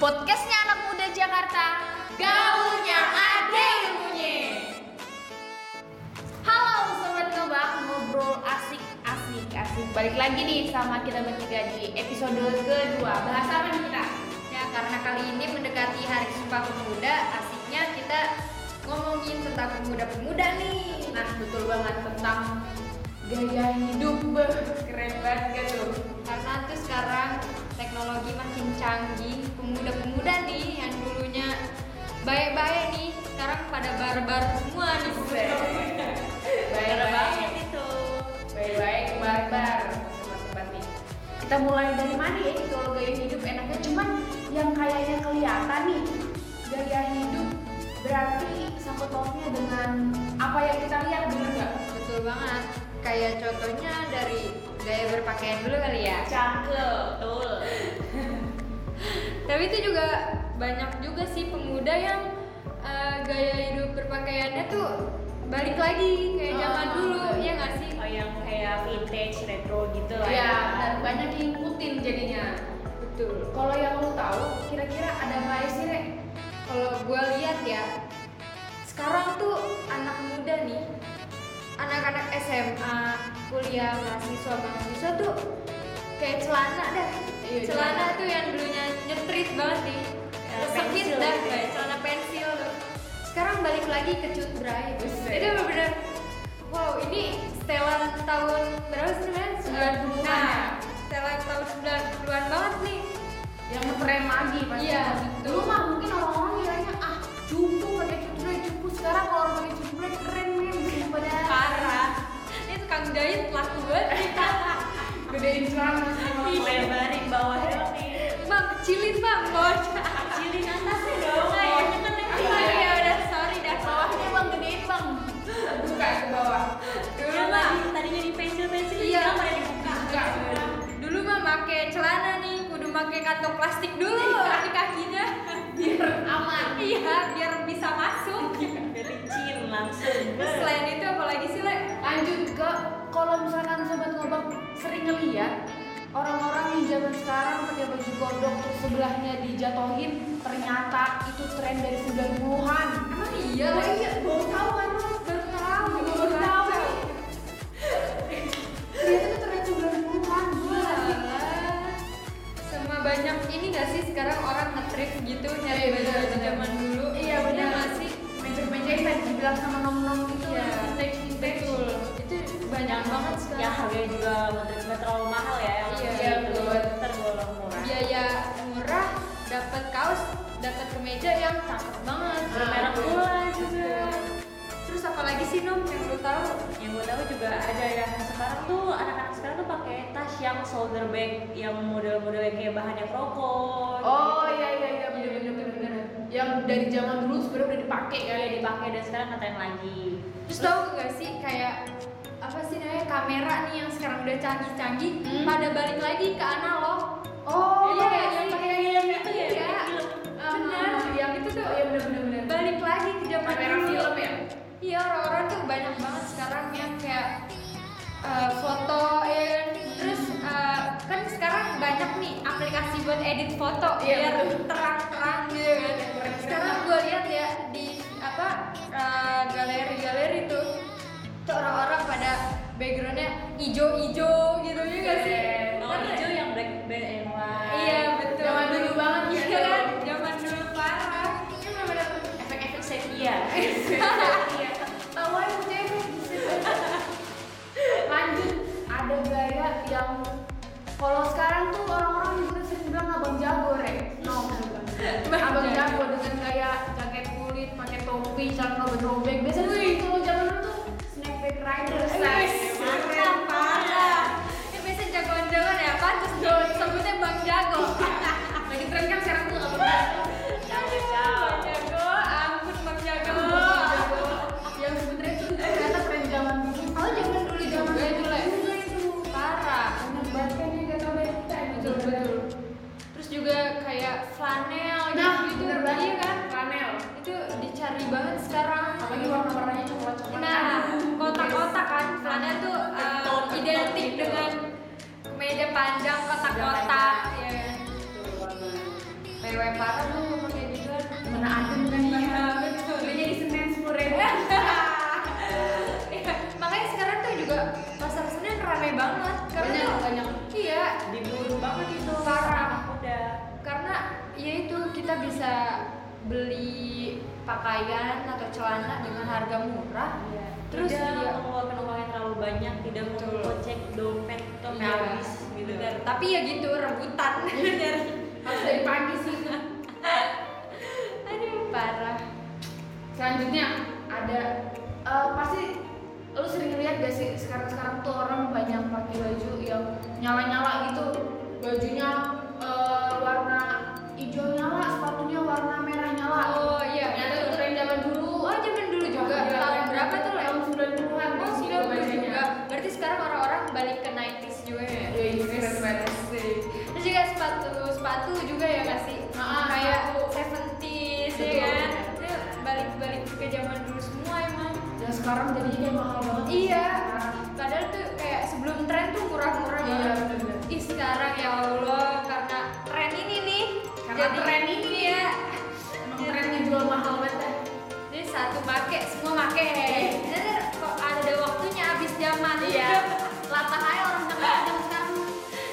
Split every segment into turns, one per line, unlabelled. Podcastnya anak muda Jakarta. Gaulnya ada ilmunya. Halo sobat ngebak, ngobrol asik asik asik. Balik lagi nih sama kita bertiga di episode kedua. Bahas apa nih kita?
Ya, karena kali ini mendekati Hari Sumpah Pemuda, asiknya kita ngomongin tentang pemuda-pemuda nih.
Nah betul banget tentang gaya hidup, Beh. keren banget gak tuh?
Karena tuh sekarang teknologi makin canggih, pemuda-pemuda nih yang dulunya baik-baik nih, sekarang pada barbar semua nih.
Baik-baik.
itu.
Baik-baik, barbar, sobat-sobat nih. Kita mulai dari mana ya nih kalau gaya hidup enaknya cuman yang kayaknya kelihatan nih gaya hidup berarti sangkut pautnya dengan apa yang kita lihat bener nggak?
Betul banget. Kayak contohnya dari gaya berpakaian dulu kali ya.
Cakep, betul.
Tapi itu juga banyak juga sih pemuda yang eh, gaya hidup berpakaiannya tuh balik lagi kayak
Oh.
zaman dulu ya nggak sih?
Oh yang kayak vintage, retro gitu lah
Iya, dan banyak diikutin jadinya.
Betul.
Kalau yang lu tahu, kira-kira ada apa aja sih, Rek?
Kalau gua lihat ya sekarang tuh anak muda nih, anak-anak SMA, kuliah, mahasiswa, mahasiswa tuh kayak celana dah.
Iya, celana.
celana tuh yang dulunya nyetrit banget nih.
Ya,
Sempit
pensil.
dah kayak celana pensil tuh. Sekarang balik lagi ke cut bray.
Buset.
Itu bener-bener wow, ini setelan tahun berapa sih sebenarnya?
90-an.
Nah, setelan tahun 90-an banget nih.
Yang ngetren lagi pasti.
Iya,
Dulu mah mungkin orang-orang kiranya ah cupu pakai cutbray cupu sekarang kalau orang pakai cutbray keren men daripada
Parah. Ini tukang jahit laku banget.
gedein celana sih.
Lebarin bawahnya nih
Bang, kecilin bang, bawahnya.
Kecilin atasnya dong
Nah,
Oh.
ya.
Bawahnya kan
Ah,
nanti
ya udah, sorry dah.
Bawahnya bang gedein bang. Buka ke bawah.
Dulu
Iya,
Yang
mah,
tadi- Iya, Tadinya di pensil-pensil,
Iya.
sekarang pada dibuka
Buka.
dulu mah make celana nih, kudu make kantong plastik dulu kaki-kakinya.
Iya. Biar aman. Iya.
Iya, biar bisa masuk.
Biar licin langsung
Selain itu apalagi sih, Le?
Lanjut ke kalau misalkan sobat ngobak sering ngeliat orang-orang yang zaman sekarang pakai baju godok terus sebelahnya dijatohin ternyata itu tren dari 90-an.
Emang iya,
Oh
Le?
iya, baru tahu kan lu?
Baru tahu,
Baru tahu. Ternyata itu tren 90-an. Gila.
Sama banyak ini gak sih sekarang orang nge-thrift gitu nyari
Iya,
baju-baju
benar.
zaman dulu.
Iya, benar.
nggak sih?
Meja-meja yang tadi dibilang sama nom-nom itu
Iya.
vintage vintage.
Betul. Itu banyak banget
Ya
sekarang.
harganya juga nggak terlalu mahal ya
Iya,
Yang masih
betul.
tergolong- tergolong murah
biaya murah dapat kaos dapat kemeja yang cakep banget
Ah,
Merek
betul.
pula juga
terus apalagi sih nom yang lu tahu
yang gue tahu juga ada yang sekarang tuh anak-anak sekarang tuh pakai tas yang shoulder bag yang model-model yang kayak bahannya kroko
Oh iya iya iya bener bener bener bener. Yang dari zaman dulu sebenarnya udah dipakai
gitu.
ya.
Iya, dipakai dan sekarang ngetren lagi
terus tahu gak sih kayak apa sih namanya kamera nih yang sekarang udah canggih-canggih
Hmm.
pada balik lagi ke analog
Oh iya
Iya, yang
yang
pakai
pakai
helm
yang
itu
itu
ya?
ya.
Iya. Benar.
yang itu tuh ya bener bener bener.
balik lagi ke zaman
Kamera
dulu.
film ya.
iya orang-orang tuh banyak banget sekarang yang kayak eh, foto ya kan? terus eh, kan sekarang banyak nih aplikasi buat edit foto
Iya,
biar
betul.
terang-terang gitu kan.
Keren-keren.
sekarang gue lihat ya di apa eh, galeri-galeri tuh tuh orang-orang pada backgroundnya ijo-ijo gitu ya gak sih
Kalau
Bener
hijau
ya?
yang black black and white.
iya betul
Zaman dulu banget ya.
iya kan zaman dulu parah Ini bener-bener
Efek-efek
Iya.
sepia.
Tahu aja cewek. Lanjut ada gaya yang kalau sekarang tuh orang-orang juga sering bilang abang jago rek. No. Abang jago dengan gaya jaket kulit, pakai topi, celana robek. Biasanya tuh kalau zaman dulu tuh snapback rider
Wih,
style.
mantap, Iya. parah. Ini biasa jagoan-jagoan ya, pantas dong sebutnya Bang Jago.
Iya.
Iya,
Lagi tren kan sekarang tuh abang jago. Iya.
Bang Jago, ampun Bang Jago.
yang sebenarnya itu ternyata tren zaman dulu. Kalau zaman dulu zaman
Iya,
dulu
dulu ya.
itu parah. Enak banget kan ya kata mereka kita betul betul.
Terus juga kayak flanel
Nah,
gitu,
bener banget
iya kan?
Flanel.
Itu dicari banget sekarang.
Apalagi warna-warnanya coklat-coklat.
Nah, kotak-kotak kan, flanel tuh eh,
Betul, betul,
identik
betul.
dengan kemeja panjang, kotak-kotak, ya kan?
Betul banget.
Eh, cewek parah lu mau kayak gituan
Mana ada bukan
Iya,
banget.
betul.
Belinya di Senin sepuluh
Iya, makanya sekarang tuh juga pasar Senen rame banget karena
Banyak,
tuh-
banyak.
iya
diburu banget itu
Parah.
udah
karena ya itu kita bisa beli pakaian atau celana dengan harga murah Terus
terus tidak
iya.
mengeluarkan uang yang terlalu banyak tidak
Betul.
mengocek dompet dompet
Iya.
habis gitu kan
tapi ya gitu rebutan
Harus dari pagi sih.
aduh parah
Selanjutnya ada eh, pasti lu sering lihat gak sih sekarang-sekarang tuh orang banyak pakai baju yang nyala-nyala gitu. Bajunya eh, warna hijau nyala, sepatunya warna merah nyala.
oh iya
Ternyata itu
betul.
tren zaman dulu.
oh zaman dulu juga
Iya,
tahun berapa tuh
Tahun 90-an.
Oh,
gitu
sudah bagus
bajunya.
juga. Berarti sekarang orang-orang balik ke 90s juga ya.
Iya, iya, keren banget.
Asik. Terus juga sepatu, sepatu juga ya nggak sih?
Ah,
Kayak
sepatu.
70s ya
Betul.
kan? Itu balik-balik ke zaman dulu semua emang.
Dan sekarang jadinya kayak mahal banget. Nah,
Iya.
Sekarang.
Padahal tuh kayak sebelum tren tuh murah-murah
Iya,
banget.
bener.
Ih, sekarang ya Allah karena tren ini nih.
Karena tren ini.
ya.
Emang tren dijual mahal banget. ya. dah.
Jadi satu make, semua make. Bener, kok ada waktunya habis zaman.
Iya.
Latah aja orang zaman zaman sekarang.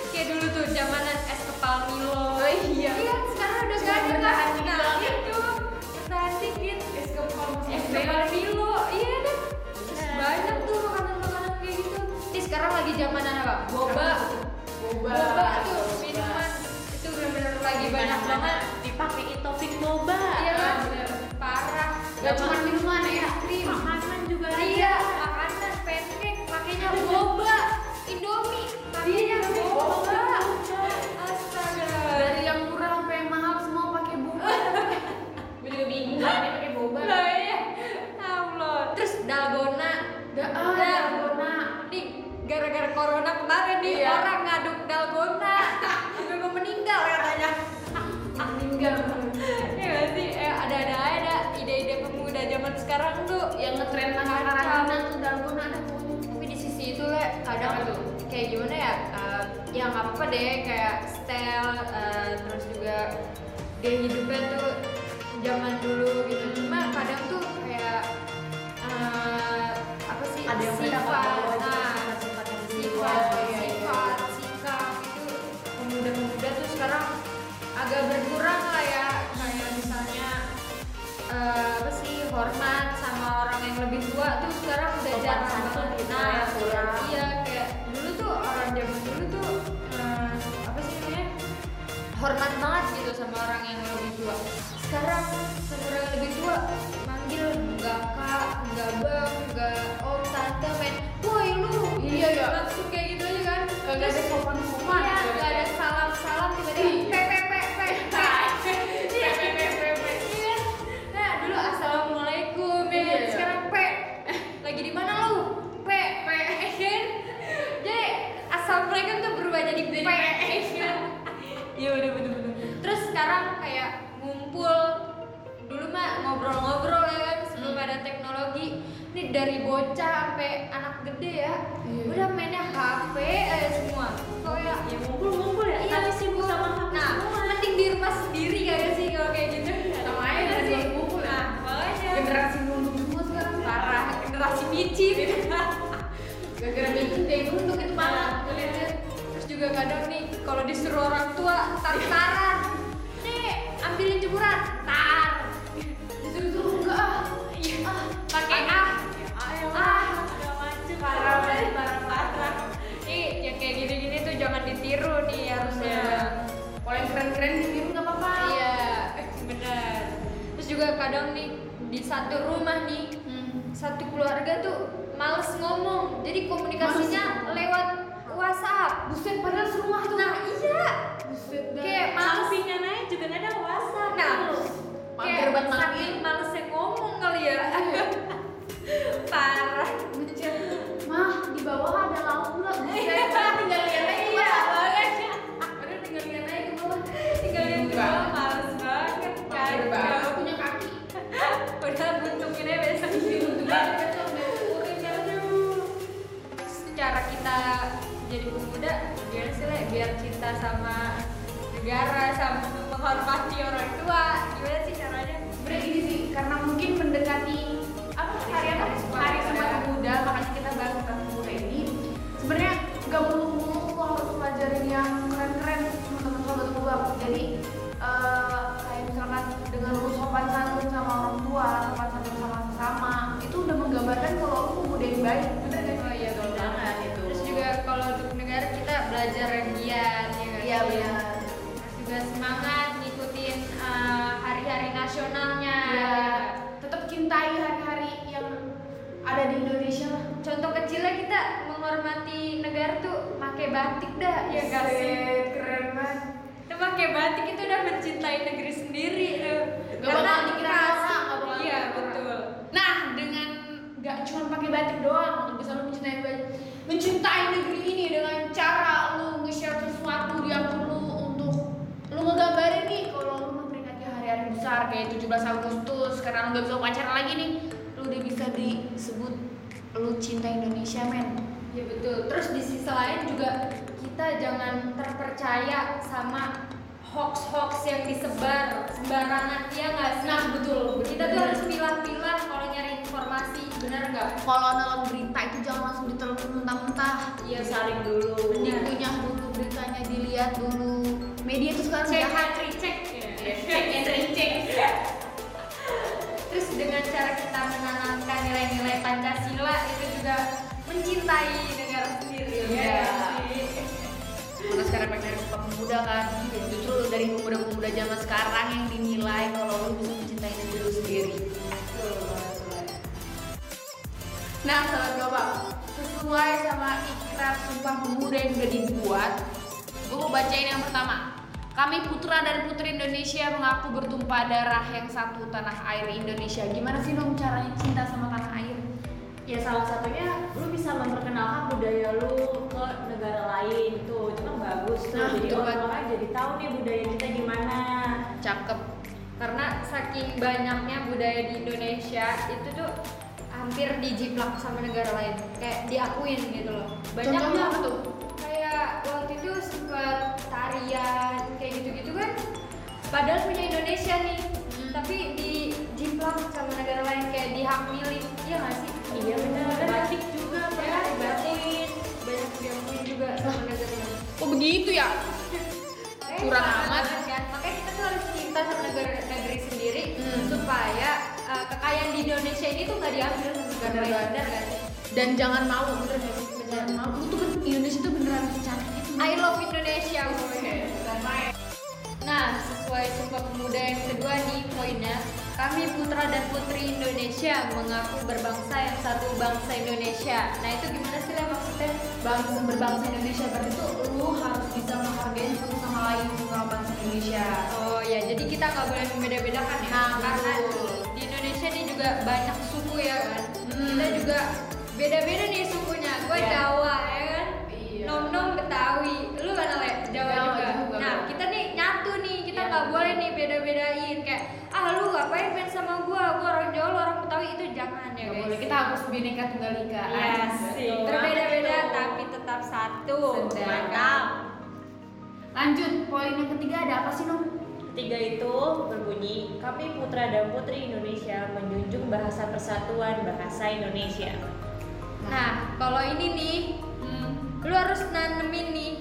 Kayak dulu tuh zamanan es kepal Milo.
Oh, iya.
Iya, sekarang udah
Cuma
gak ada
bertahan
kan.
dikit.
Nah, itu bertahan dikit.
Es kepal masih
Es
ada.
kepal Milo, iya kan. Terus
Bener.
banyak tuh makanan-makanan kayak gitu. Ini sekarang lagi zamanan apa? Boba.
Boba.
Boba tuh minuman itu bener-bener lagi banyak banget.
dipakai topik boba
Iya kan?
bener.
Parah.
Gak cuma minuman ya, krim.
makanan juga
Iya, makanan pancake pakainya boba, Indomie
Iya,
pakainya boba. Astaga.
Dari yang murah sampai yang mahal semua pakai boba. Gue juga bingung kenapa dia pakai boba.
Lah iya. Allah. Terus dalgona. Nah,
Da ah, dalgona.
Nih, gara-gara corona kemarin nih
Iya.
orang ngaduk dalgona. Sampai mau meninggal katanya. Ah,
Meninggal.
Iya gak sih, eh, ada-ada aja ada ide-ide pemuda zaman sekarang tuh
Yang ngetren masa
Kacau.
karantina tuh dalgona ada pokoknya.
tapi di sisi itu le kadang
Apa tuh?
kayak gimana ya uh, ya nggak apa-apa deh kayak style uh, terus juga gaya hidupnya tuh zaman dulu gitu cuma kadang tuh kayak uh, apa sih
ada yang
sifat
bertanggung jawab
nah
juga, sifat
sifat
yang individual, iya, iya.
sifat sikap itu pemuda-pemuda tuh sekarang agak berkurang lah ya kayak misalnya eh, apa sih hormat sama orang yang lebih tua tuh sekarang udah
Sopan
jarang
santun
banget
gitu
Nah,
ya, kurang.
iya kayak dulu tuh orang zaman dulu tuh eh, apa sih namanya hormat banget gitu sama orang yang lebih tua sekarang sama orang yang lebih tua manggil enggak kak enggak bang enggak om tante men woi lu
Iya, iya.
langsung kayak gitu aja kan
Gak ada gitu ya.
Terus-
sopan-sopan.
Iya, nggak ada salam-salam
Iya.
tiba-tiba pe pe pe pe pe. Iya. Iya. Nah, dulu assalamualaikum ya
Iya,
kan?
iya.
sekarang pe. Eh, Lagi di mana lu? Pe pe. ya kan? Jadi assalamualaikum tuh berubah jadi pe. ya kan?
iya udah bener bener
Terus sekarang kayak ngumpul dulu mah ngobrol-ngobrol ya kan sebelum ada teknologi. Ini dari bocah sampai anak gede ya.
Iya.
Udah mainnya HP eh, semua. Kayak
ya ngumpul ngumpul ya
Iya.
tapi sibuk sama
Nah, mending di rumah sendiri kagak sih kalau kayak gitu?
Sama aja,
Iya
dari
sih.
bawah kumpul ya.
Nah, makanya.
Generasi nunduk semua sekarang.
kan parah generasi micin.
Gara-gara bikin deh nunduk itu parah.
Parah, kalian Terus juga kadang nih kalau disuruh orang tua tarik-taran. Nih, ambilin jemuran. Tar.
Disuruh-suruh enggak ah.
Ah, pakai ah.
ah udah macem
Parah,
parah
parah,
parah parah
Nih, yang kayak gini-gini tuh jangan ditiru nih harusnya.
Kalau yang keren-keren ditiru nggak apa-apa.
Iya, benar. Terus juga kadang nih di satu rumah nih
Hmm.
satu keluarga tuh males ngomong jadi komunikasinya lewat WhatsApp
Buset padahal serumah tuh.
nah iya
Buset dah.
kayak males
sampingan aja juga nggak ada WhatsApp
nah
Mager
kayak
gitu banget Iya.
saking malesnya ngomong kali ya parah
Ngechat, mah di bawah ada lauk pula buset Iya, tinggal lihat aja ke
iya
bawah."
banget
Padahal tinggal lihat aja ke bawah
tinggal yang
Banget.
kedua males banget
Iya. Mager banget,
kacau
Kan, punya kaki
padahal buntunginnya besok secara kita jadi ya, pemuda gimana sih Le? biar cinta sama negara sama menghormati orang
eh, Iya, mencintai Iya.
ya Iya, eh, Iya,
gitu.
hari-hari yang ada di Indonesia lah.
Contoh kecilnya kita menghormati negara tuh pakai batik dah ya gak sih?
Set, keren banget.
Itu pakai batik itu udah mencintai negeri sendiri tuh.
Gak bakal dikira norak, gak bakal
Iya
dikira norak.
betul.
Nah, dengan gak cuma pakai batik doang untuk bisa lu mencintai baju- mencintai negeri ini dengan cara lu nge-share sesuatu di akun lu untuk lu ngegambarin nih kalau lu memperingati hari-hari besar kayak 17 Agustus karena lu gak bisa pacaran lagi nih lu udah bisa disebut lu cinta Indonesia men
Iya betul. Terus di sisi lain juga kita jangan terpercaya sama hoax-hoax yang disebar sembarangan ya nggak sih?
Nah, betul.
Kita tuh harus pilah-pilah kalau nyari informasi benar nggak?
kalau nonton berita itu jangan langsung ditelepon mentah-mentah
Iya
saring dulu Nah.
mending punya dulu beritanya dilihat dulu media itu sekarang
Cek
jahat
recheck. Iya.
cek and recheck
Terus dengan cara kita menanamkan nilai-nilai Pancasila itu juga mencintai negara sendiri.
Iya.
nggak sih?
karena sekarang banyak yang suka pemuda kan justru dari pemuda-pemuda zaman sekarang yang dinilai kalau lu bisa mencintai diri lu sendiri nah sahabat global sesuai sama ikrar sumpah pemuda yang udah dibuat gue mau bacain yang pertama kami putra dan putri Indonesia mengaku bertumpah darah yang satu tanah air Indonesia gimana sih dong caranya cinta sama tanah air
ya salah satunya lu bisa memperkenalkan budaya lu ke negara lain tuh itu kan bagus tuh
Nah,
jadi
betul
orang
banget.
orang jadi tahu nih budaya kita gimana
cakep
Karena saking banyaknya budaya di Indonesia itu tuh hampir dijiplak sama negara lain, kayak diakuin gitu loh. Banyak
Contohnya apa
banget.
tuh?
Kayak waktu itu sempat tarian kayak gitu-gitu kan. Padahal punya Indonesia nih,
Hmm.
tapi dijiplak sama negara lain kayak dihamilin, iya nggak sih?
iya benar batik juga Iya,
Ya,
pernah
dibatin. Banyak diakuin juga sama negara lain.
oh begitu ya
Makanya
Kurang
kita
amat.
harus kan, makanya kita tuh harus cinta sama negara negeri sendiri
Hmm.
supaya uh, kekayaan di Indonesia ini tuh nggak diambil sama negara
Bener
lain
banget.
benar nggak sih?
dan jangan mau bener gak sih jangan mau lu tuh ben- Indonesia tuh beneran gitu. secantik itu
I love Indonesia pokoknya. Nah sesuai sumpah pemuda yang kedua nih poinnya kami putra dan putri Indonesia mengaku berbangsa yang satu bangsa Indonesia. Nah itu gimana sih lah maksudnya?
bangsa berbangsa Indonesia berarti tuh lu harus bisa menghargai satu sama lain sama bangsa Indonesia
Oh ya, jadi kita nggak boleh membeda-bedakan ya,
Nah,
karena
betul.
di Indonesia ini juga banyak suku ya kan.
Hmm.
Kita juga beda-beda nih sukunya. Gue
Iya.
Jawa ya kan,
Iya.
nom nom Betawi, lu mana le? Jawa,
Jawa
juga.
juga.
Nah kita nih nyatu nih, kita
Iya.
nggak boleh nih beda-bedain kayak ah lu ngapain main sama gue, gue orang Jawa, lu orang Betawi itu jangan ya
Gak
guys.
boleh kita harus bineka tunggal ika
Iya sih,
Betul.
berbeda-beda tapi tetap satu.
Sedap.
Mantap.
lanjut poin yang ketiga ada apa sih Nom?
Ketiga itu berbunyi, kami putra dan putri Indonesia menjunjung bahasa persatuan bahasa Indonesia.
Nah, kalau ini nih, hmm, lu harus nanemin nih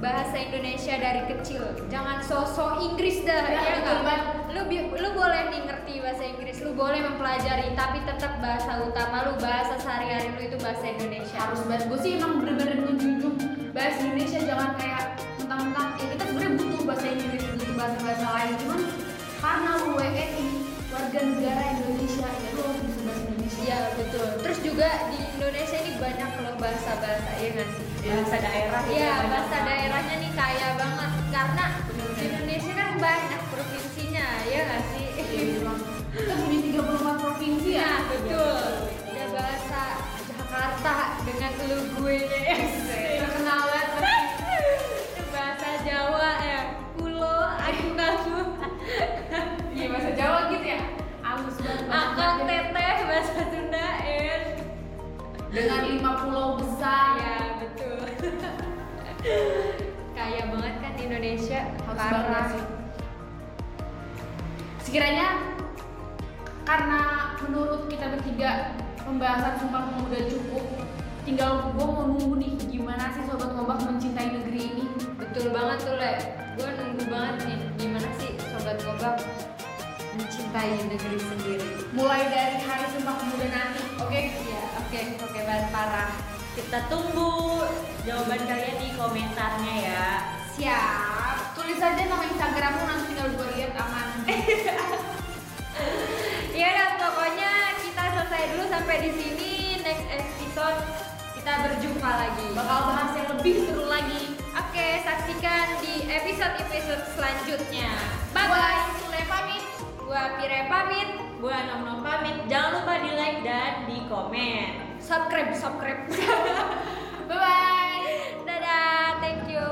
bahasa Indonesia dari kecil. Jangan sosok Inggris dah,
Ya,
ya,
betul
nggak?
banget.
Lu bi- lu boleh nih ngerti bahasa Inggris, lu boleh mempelajari, tapi tetap bahasa utama lu, bahasa sehari-hari lu itu bahasa Indonesia.
harus banget gue sih emang bener-bener menjunjung bahasa Indonesia jangan kayak mentang-mentang ya kita sebenarnya butuh bahasa Inggris butuh bahasa-bahasa lain cuman karena lu WNI warga negara Indonesia ya lu harus bisa bahasa Indonesia
Iya, betul. Terus juga di Indonesia ini banyak loh bahasa-bahasa, ya nggak sih?
Bahasa daerah.
Iya,
banyak
bahasa
banget.
daerahnya nih kaya banget karena
Bener-bener.
di Indonesia kan banyak provinsinya, ya nggak sih?
Iya, Bang. kita punya 34 provinsi ya
Iya, betul. Ada bahasa Jakarta dengan lu gue
terkenal banget
Ada bahasa Jawa ya. Kulo, aku kamu,
Iya bahasa Jawa gitu ya. Halus banget.
akang teteh bahasa Sunda ya.
Dengan lima pulau besar
Ya, betul. Kaya banget kan di Indonesia.
Harus
Parah.
bangga sih. Sekiranya karena menurut kita bertiga pembahasan Sumpah Pemuda cukup, tinggal gue mau nunggu nih gimana sih sobat ngombak mencintai negeri ini.
Betul banget tuh, Le. Gue nunggu banget nih gimana sih sobat gobak mencintai negeri sendiri.
Mulai dari hari Sumpah Pemuda nanti, oke?
Iya, oke, oke banget parah.
Kita tunggu jawaban kalian di komentarnya ya.
Siap.
Tulis aja nama Eh. Instagrammu nanti tinggal gue lihat aman.
Ya udah pokoknya saya dulu sampai di sini. Next episode kita berjumpa lagi.
bakal bahas yang lebih seru lagi
Oke, saksikan di episode-episode selanjutnya. Bye
Gua
bye.
Sule pamit
Gua Pire pamit.
Gua Nom pamit. Jangan lupa di like dan di komen.
Subscribe, subscribe.
bye bye
Dadah, thank you.